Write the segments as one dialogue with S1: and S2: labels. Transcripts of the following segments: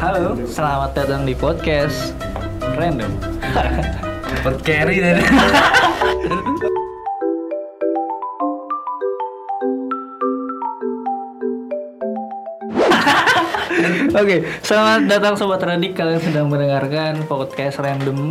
S1: Halo, selamat datang di podcast Random.
S2: Dapat carry dari
S1: Oke, selamat datang sobat Radik. Kalian sedang mendengarkan podcast Random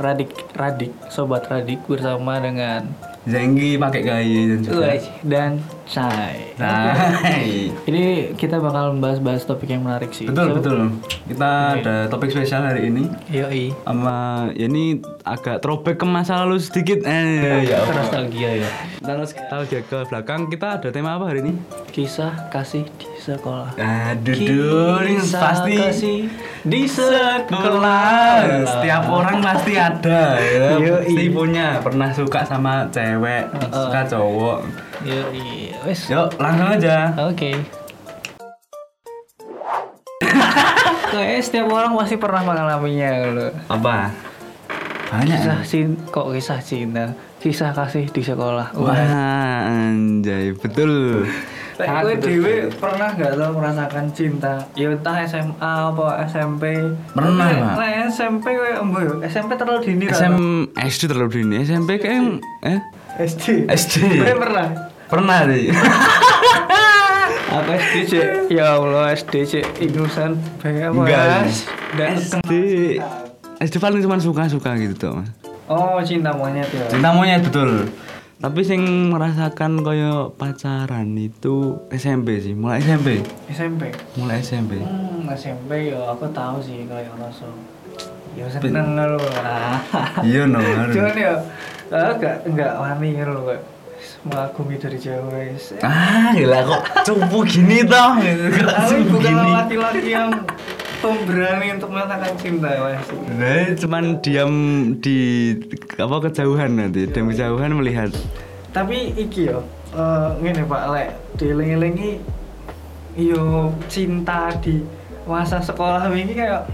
S1: Radik Radik Sobat Radik bersama dengan
S2: Zenggi pakai gaya dan juga.
S1: Uwais dan Chai.
S2: Nah,
S1: Ini kita bakal membahas-bahas topik yang menarik sih. So,
S2: betul betul. Kita ada topik spesial hari ini
S1: Yoi.
S2: sama ya ini agak throwback ke masa lalu sedikit. Eh, ya Allah.
S1: Nostalgia ya.
S2: Kita harus tahu dia ke belakang. Kita ada tema apa hari ini?
S1: Kisah kasih di sekolah.
S2: Aduh, Dul, ini
S1: Kisah
S2: pasti
S1: kasih di
S2: kelas.
S1: sekolah.
S2: Setiap orang pasti ada ya.
S1: Yoi.
S2: Pasti punya pernah suka sama cewek, suka cowok.
S1: Yoi. Wes.
S2: Yuk, langsung aja.
S1: Oke. Kayaknya setiap orang pasti pernah mengalaminya lo.
S2: Apa? Banyak.
S1: Kisah cinta, kok kisah cinta, kisah kasih di sekolah.
S2: Wah, anjay, betul. Sangat
S1: Gue
S2: betul.
S1: dewe pernah nggak lo merasakan cinta? Ya entah SMA apa SMP.
S2: Pernah,
S1: Tapi,
S2: Pak.
S1: Nah, SMP gue embo, SMP terlalu dini lah.
S2: SM SD terlalu dini, SMP kayak eh
S1: SD.
S2: SD.
S1: Gue pernah.
S2: Pernah sih.
S1: Aku SD cek. Ya Allah SD cek ingusan pengen apa?
S2: Enggak,
S1: ya?
S2: Mas.
S1: Dan
S2: SD. SD paling cuma suka-suka gitu tuh, Mas.
S1: Oh cinta monyet ya.
S2: Cinta monyet betul. Tapi sing merasakan koyo pacaran itu SMP sih, mulai SMP.
S1: SMP.
S2: Mulai SMP.
S1: Hmm, SMP ya aku tahu sih kalau yang langsung. Ya seneng lo lah.
S2: Iya no.
S1: Cuman ya aku gak enggak wani gitu loh kok. Mengagumi dari jauh guys. Eh,
S2: Ah, gila kok cupu gini toh. Kok
S1: Aku
S2: cupu
S1: bukan
S2: gini.
S1: laki-laki yang pemberani untuk mengatakan cinta ya, mas.
S2: Nah, cuman diam di apa kejauhan nanti, diam kejauhan melihat.
S1: Tapi iki yo, eh ngene Pak Lek, dieling-elingi yo cinta di masa sekolah ini kayak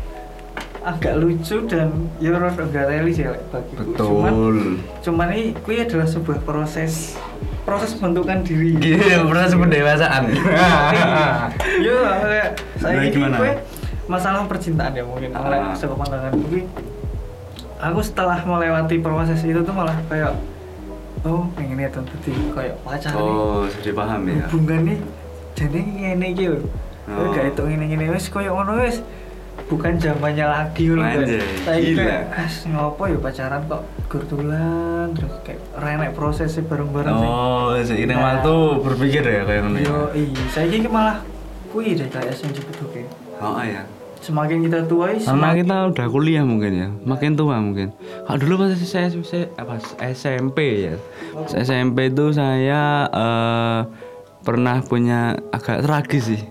S1: agak lucu dan ya rada enggak realistis ya Lek, bagiku. Cuman cuman ini kui adalah sebuah proses proses pembentukan diri
S2: Gini, Iya, proses pendewasaan.
S1: yo Iya, kayak saya
S2: Nah,
S1: ini
S2: gimana?
S1: kue masalah percintaan ya mungkin
S2: Ah.
S1: oleh sebuah pandangan gue aku setelah melewati proses itu tuh malah kayak oh pengen ya tentu di kayak pacar
S2: Oh, sudah paham
S1: nih
S2: ya.
S1: hubungan nih jadi ngene iki lho oh.
S2: Oh.
S1: gak itu ngene ngene wis koyo ngono wis bukan zamannya lagi lho
S2: Anjay,
S1: Saiki
S2: gila.
S1: kayak, as ngopo ya pacaran kok gertulan terus kayak renek prosesnya bareng-bareng sih.
S2: Oh, seiring waktu berpikir ya kayak ngono. ya?
S1: Yo, iya. Saya ini malah kui deh kayak SMJ oke.
S2: Oh, ya.
S1: Semakin kita tua, is-
S2: Karena kita udah kuliah mungkin ya, makin tua mungkin. Kalau dulu pas saya, saya- apa, SMP ya, Pas SMP itu saya eh, pernah punya agak tragis ya? sih.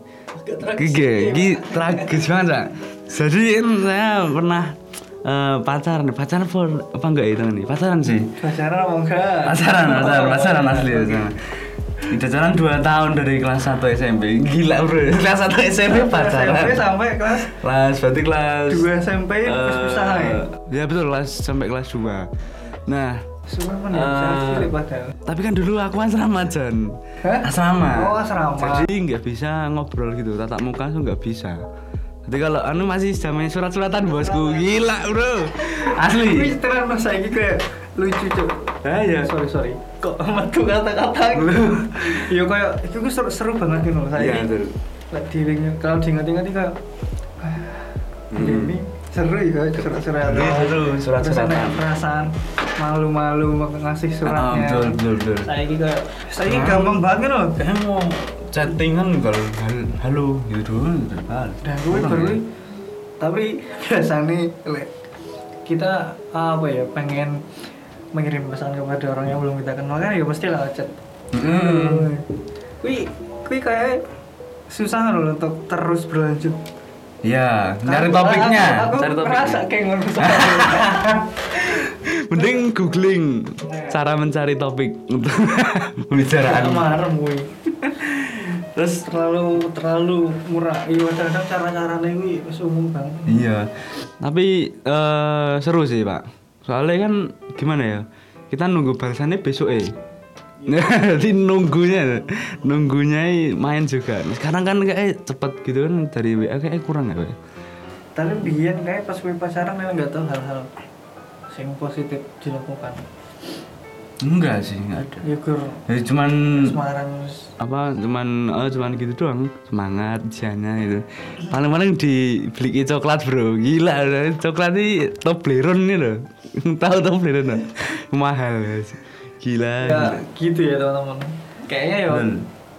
S2: Gigi, gigi tragis banget Cak. Jadi saya pernah eh, pacaran, pacaran for apa enggak ya itu nih? Pacaran sih.
S1: pacaran apa enggak?
S2: Pacaran, pacaran, pacaran asli pacaran. Kita jalan 2 tahun dari kelas 1 SMP. Gila, Bro. Kelas 1 SMP
S1: SMP
S2: pacaran.
S1: sampai kelas
S2: Kelas berarti kelas
S1: 2 SMP terus pisah ya.
S2: ya betul kelas sampai kelas 2 nah
S1: Semua pun ya, saya
S2: Eh.
S1: cilik padahal.
S2: tapi kan dulu aku asrama Jan
S1: Hah?
S2: asrama
S1: Oh, asrama.
S2: jadi nggak bisa ngobrol gitu tatap muka tuh nggak bisa jadi kalau anu masih zamannya surat-suratan bosku gila bro
S1: Tapi
S2: asli
S1: terang mas saya ini kayak lucu cok.
S2: Ah, iya.
S1: Sorry sorry. Kok metu kata-kata? Yo kayak itu gue seru, seru banget gitu loh saya.
S2: Iya,
S1: ini.
S2: betul.
S1: Lek diingat- kalau diingat-ingat ini kayak ah, ini seru ya surat-surat.
S2: Hmm. Iya, seru, surat-suratan.
S1: Terus ada perasaan malu-malu mau ngasih
S2: Ah,
S1: suratnya.
S2: betul betul betul
S1: Saya ini kayak saya ini gampang banget gitu loh.
S2: kayaknya mau chattingan kalau hal- halo gitu doang gitu. Ah,
S1: Dan gue
S2: kurang
S1: baru
S2: ya.
S1: tapi biasanya lek, kita apa ya pengen mengirim pesan kepada orang yang belum kita kenal kan ya pasti lah chat.
S2: Mm-mm.
S1: Hmm. Kui kui kayak susah loh untuk terus berlanjut.
S2: Iya, cari
S1: Aku-
S2: topiknya,
S1: Aku, aku
S2: cari topiknya.
S1: merasa kayak ngono soalnya.
S2: Mending googling cara mencari topik untuk pembicaraan.
S1: Marem gue.
S2: Terus
S1: Terlalu terlalu murah. Iya, kadang cara-cara ini wis umum banget.
S2: iya. Tapi eh, seru sih, Pak. Soalnya kan gimana ya? Kita nunggu balasannya besok eh. Jadi nunggunya nunggunya main juga. Sekarang kan kayak cepet gitu kan dari WA kayak kurang ya, Pak.
S1: tapi biyen kayak pas gue pacaran memang nggak tahu hal-hal yang positif dilakukan
S2: Enggak sih, enggak ada.
S1: ya gur
S2: Ya, cuman
S1: Semarang wis.
S2: apa cuman eh, cuman gitu doang semangat jana gitu paling-paling dibeli coklat bro gila udah. coklat ini Toblerone nih loh tahu Toblerone nggak? mahal guys. gila
S1: ya
S2: Iya.
S1: gitu ya teman-teman kayaknya ya
S2: Betul.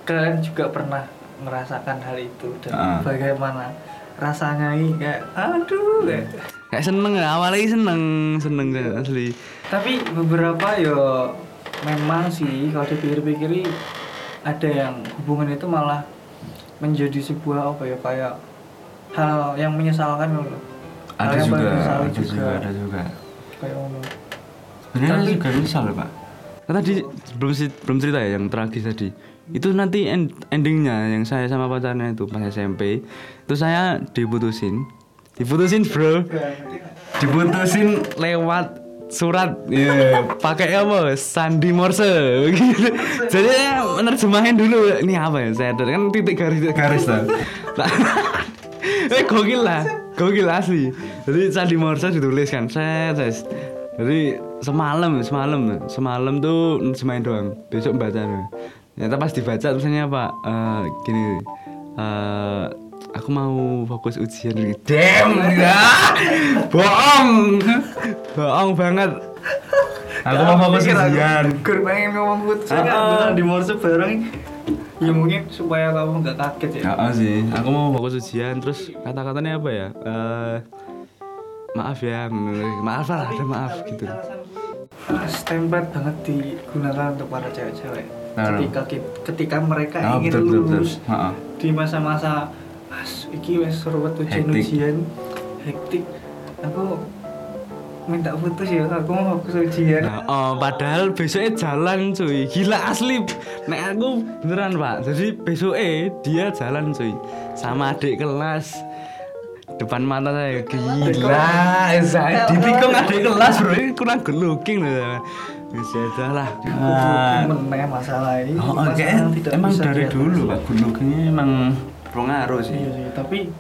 S1: kalian juga pernah merasakan hal itu dan
S2: Ah.
S1: bagaimana rasanya ini kayak aduh
S2: Hmm.
S1: kayak.
S2: kayak seneng ya, awalnya seneng seneng kan, asli
S1: tapi beberapa ya memang sih kalau dipikir-pikir ada yang hubungan itu malah menjadi sebuah apa ya kayak hal yang menyesalkan loh Hal yang paling disesali
S2: juga
S1: kayak ngono.
S2: sebenarnya juga menyesal pak Nah, tadi belum si- belum cerita ya yang tragis tadi itu nanti end- endingnya yang saya sama pacarnya itu pas SMP itu saya diputusin diputusin bro diputusin lewat surat ya pakai apa sandi morse begitu jadi saya menerjemahin dulu ini apa ya saya ada- kan titik garis titik garis tuh Nah, eh gokil lah gokil asli jadi sandi morse ditulis kan set set. jadi semalam semalam semalam tuh nerjemahin doang besok baca ternyata pas dibaca tulisannya apa Eh, gini eh, aku mau fokus ujian damn ya bohong bohong banget aku mau fokus
S1: Pikir aku,
S2: ujian
S1: Gur pengen ngomong putus saya nggak
S2: Ah.
S1: bilang di morse bareng ya mungkin supaya kamu nggak kaget ya
S2: Heeh sih aku mau fokus ujian terus kata-katanya apa ya Eh, maaf ya maaf lah ada maaf gitu
S1: stempel banget digunakan untuk para cewek-cewek
S2: Nah,
S1: ketika ki- ketika mereka
S2: Ah,
S1: ingin
S2: betul, betul, betul.
S1: lulus
S2: Ah, ah.
S1: di masa-masa as iki wes seruat ujian
S2: Hektik.
S1: ujian hektik aku minta putus ya aku mau fokus ujian
S2: Nah, oh, padahal besoknya jalan cuy gila asli nek aku beneran pak jadi besoknya dia jalan cuy sama adik kelas depan mata saya gila saya ditikung adik kelas bro ini kurang good looking loh sudah lah Ah, oh,
S1: mengenai masalah ini masalah yang tidak bisa diatasi.
S2: pak good lookingnya emang pengaruh
S1: Iya sih, tapi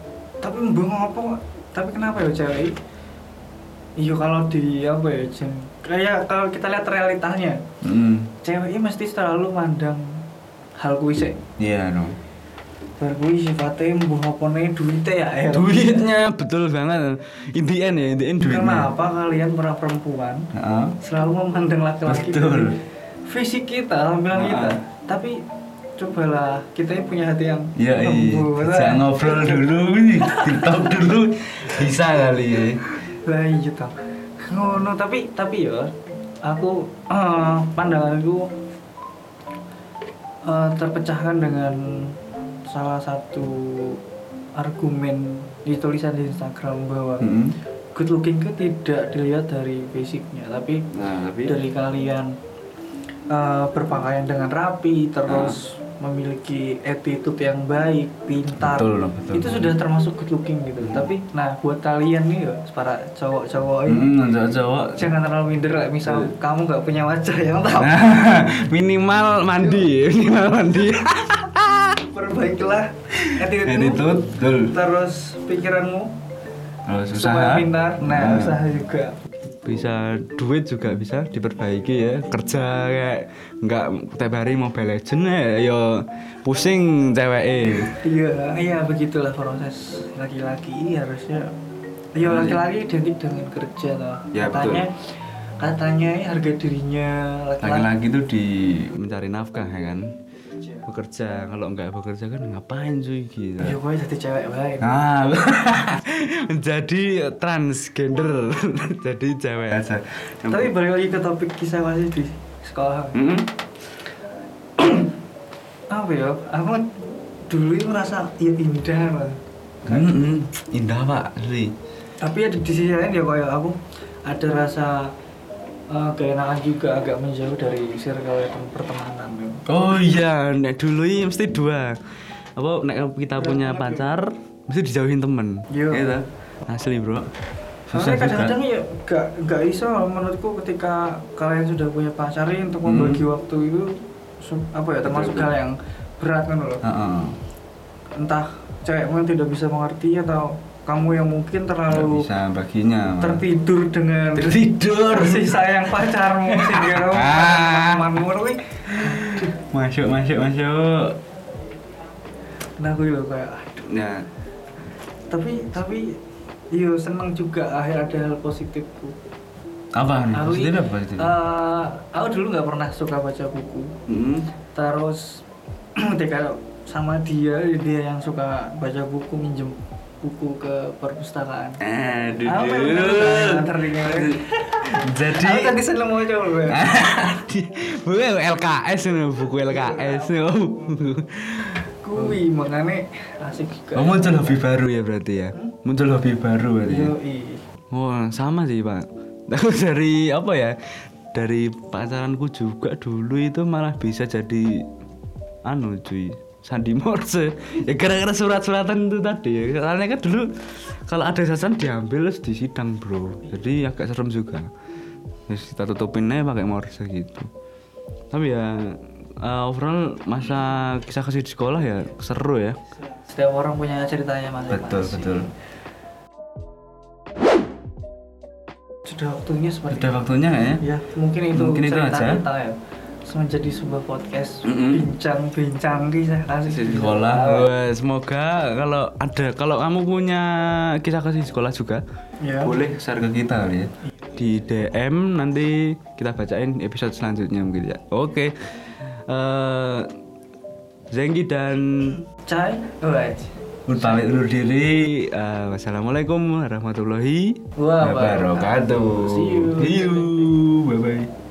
S1: tapi mbung apa kok? Tapi kenapa ya cewek? ini? Iya kalau di apa ya, Jen? Kayak kalau kita lihat realitanya,
S2: Hmm.
S1: cewek ini mesti selalu mandang hal kuwi sik.
S3: Iya no.
S1: Bar kuwi sifatnya mbung opone duitnya ya. El.
S2: duitnya betul banget in the end ya in the end duitnya
S1: Kenapa kalian para perempuan
S3: Heeh.
S1: selalu memandang laki-laki
S3: Betul.
S1: dari fisik kita,
S3: Ah.
S1: tampilan kita. Tapi cobalah kita ini punya hati yang
S3: Iya iya.
S1: lembut,
S3: Bisa
S1: lah.
S3: ngobrol dulu, tiktok dulu bisa kali ya.
S1: lah iya toh ngono tapi tapi ya aku eh, pandanganku eh, terpecahkan dengan salah satu argumen di tulisan di Instagram bahwa
S3: Mm-mm.
S2: Hmm.
S1: good looking itu tidak dilihat dari basicnya tapi
S3: Nah tapi
S1: dari kalian eh, berpakaian dengan rapi terus memiliki attitude yang baik pintar
S3: Ah. Betul, betul. Hmm.
S1: itu sudah termasuk good looking gitu tapi nah buat kalian nih ya para cowok-cowok ini
S3: Mm-mm, untuk cowok
S1: jangan terlalu minder lah misal kamu nggak punya wajah
S3: Nah.
S1: yang tampan
S2: minimal mandi minimal mandi
S1: perbaikilah attitude
S3: attitude betul.
S1: terus pikiranmu
S3: Kalau
S1: supaya
S3: susah.
S1: pintar
S3: Nah.
S1: nah usaha juga
S2: bisa duit juga bisa diperbaiki ya kerja kayak nggak tiap hari mobile legend ya yo pusing cewek
S1: Iya, iya begitulah proses laki-laki harusnya. Iya laki-laki identik dengan kerja loh.
S3: Ya,
S1: katanya, katanya harga dirinya laki-laki.
S3: Laki-laki itu di
S2: mencari nafkah ya kan bekerja kalau nggak bekerja kan ngapain cuy gitu
S1: Iya, gue jadi cewek baik.
S3: Nah,
S2: menjadi transgender jadi cewek
S3: biasa.
S1: Tapi balik lagi ke topik kisah masih di sekolah.
S3: Mm-mm.
S1: Apa ya? Aku dulu itu merasa ya indah loh.
S2: Kan,
S3: Mm-mm. Indah pak, asli.
S1: Tapi ada di sisi lain ya kayak aku ada rasa eh, keenakan juga agak menjauh dari circle pertemanan. ya.
S2: oh iya nek dulu ini mesti dua apa nek kita punya pacar mesti dijauhin temen
S1: Iya.
S3: Gitu.
S2: asli bro
S1: Soalnya kadang-kadang ya gak, gak iso menurutku ketika kalian sudah punya pacar ya
S3: Hmm.
S1: untuk membagi waktu itu su- apa ya termasuk hal yang berat kan loh
S3: Heeh.
S1: entah cewekmu yang tidak bisa mengerti atau kamu yang mungkin
S3: Nggak
S1: terlalu
S3: bisa baginya. Mas.
S1: tertidur dengan
S3: Tertidur.
S1: kasih sayang pacarmu sendiri
S3: Ah.
S1: temanmu tapi
S3: Masuk, masuk, masuk.
S1: nah aku lho kayak aduh.
S3: Ya,
S1: tapi tapi iyo seneng juga akhir ada hal positifku
S3: apa nih?
S1: aku
S3: Hmm, Positif apa positif?
S1: eh, aku dulu nggak pernah suka baca buku
S3: Hmm.
S1: terus ketika sama dia dia yang suka baca buku minjem buku ke perpustakaan
S3: Aduh,
S1: Apa yang
S3: duh.
S1: terjadi? Terdengar.
S3: Jadi,
S1: aku tadi seneng mau coba
S2: Bukan LKS ini, buku LKS ini.
S1: kui makanya asik juga
S3: oh, muncul hobi baru ya berarti ya?
S2: Hmm?
S3: Muncul hobi baru berarti ya?
S1: Yoi.
S2: Wah, sama sih pak. Aku dari apa ya? Dari pacaranku juga dulu itu malah bisa jadi anu cuy Sandi Morse ya gara-gara surat-suratan itu tadi ya soalnya kan dulu kalau ada sasaran diambil terus disidang bro jadi agak serem juga terus kita tutupin aja pakai Morse gitu tapi ya eh, overall masa kisah-kisah di sekolah ya seru ya
S1: Setiap orang punya ceritanya masing-masing.
S3: Betul, betul.
S1: Sudah waktunya seperti
S3: Sudah waktunya ya?
S1: Ya, mungkin itu
S3: Mungkin itu
S1: cerita
S3: aja.
S1: kita ya. Menjadi sebuah podcast
S3: Mm-mm.
S1: bincang-bincang kisah kasih
S3: Di sekolah.
S2: Wah, semoga kalau ada kalau kamu punya kisah-kisah di sekolah juga
S1: Ya.
S3: Boleh share ke kita kali ya?
S2: di DM nanti kita bacain episode selanjutnya mungkin ya. Oke. Eh, Zenggi dan
S1: Cai, alright.
S3: Ulur balik ulur diri.
S2: Ri, eh, wassalamualaikum warahmatullahi
S1: Wah,
S3: Wabarakatuh.
S1: See you.
S3: See you. Bye-bye.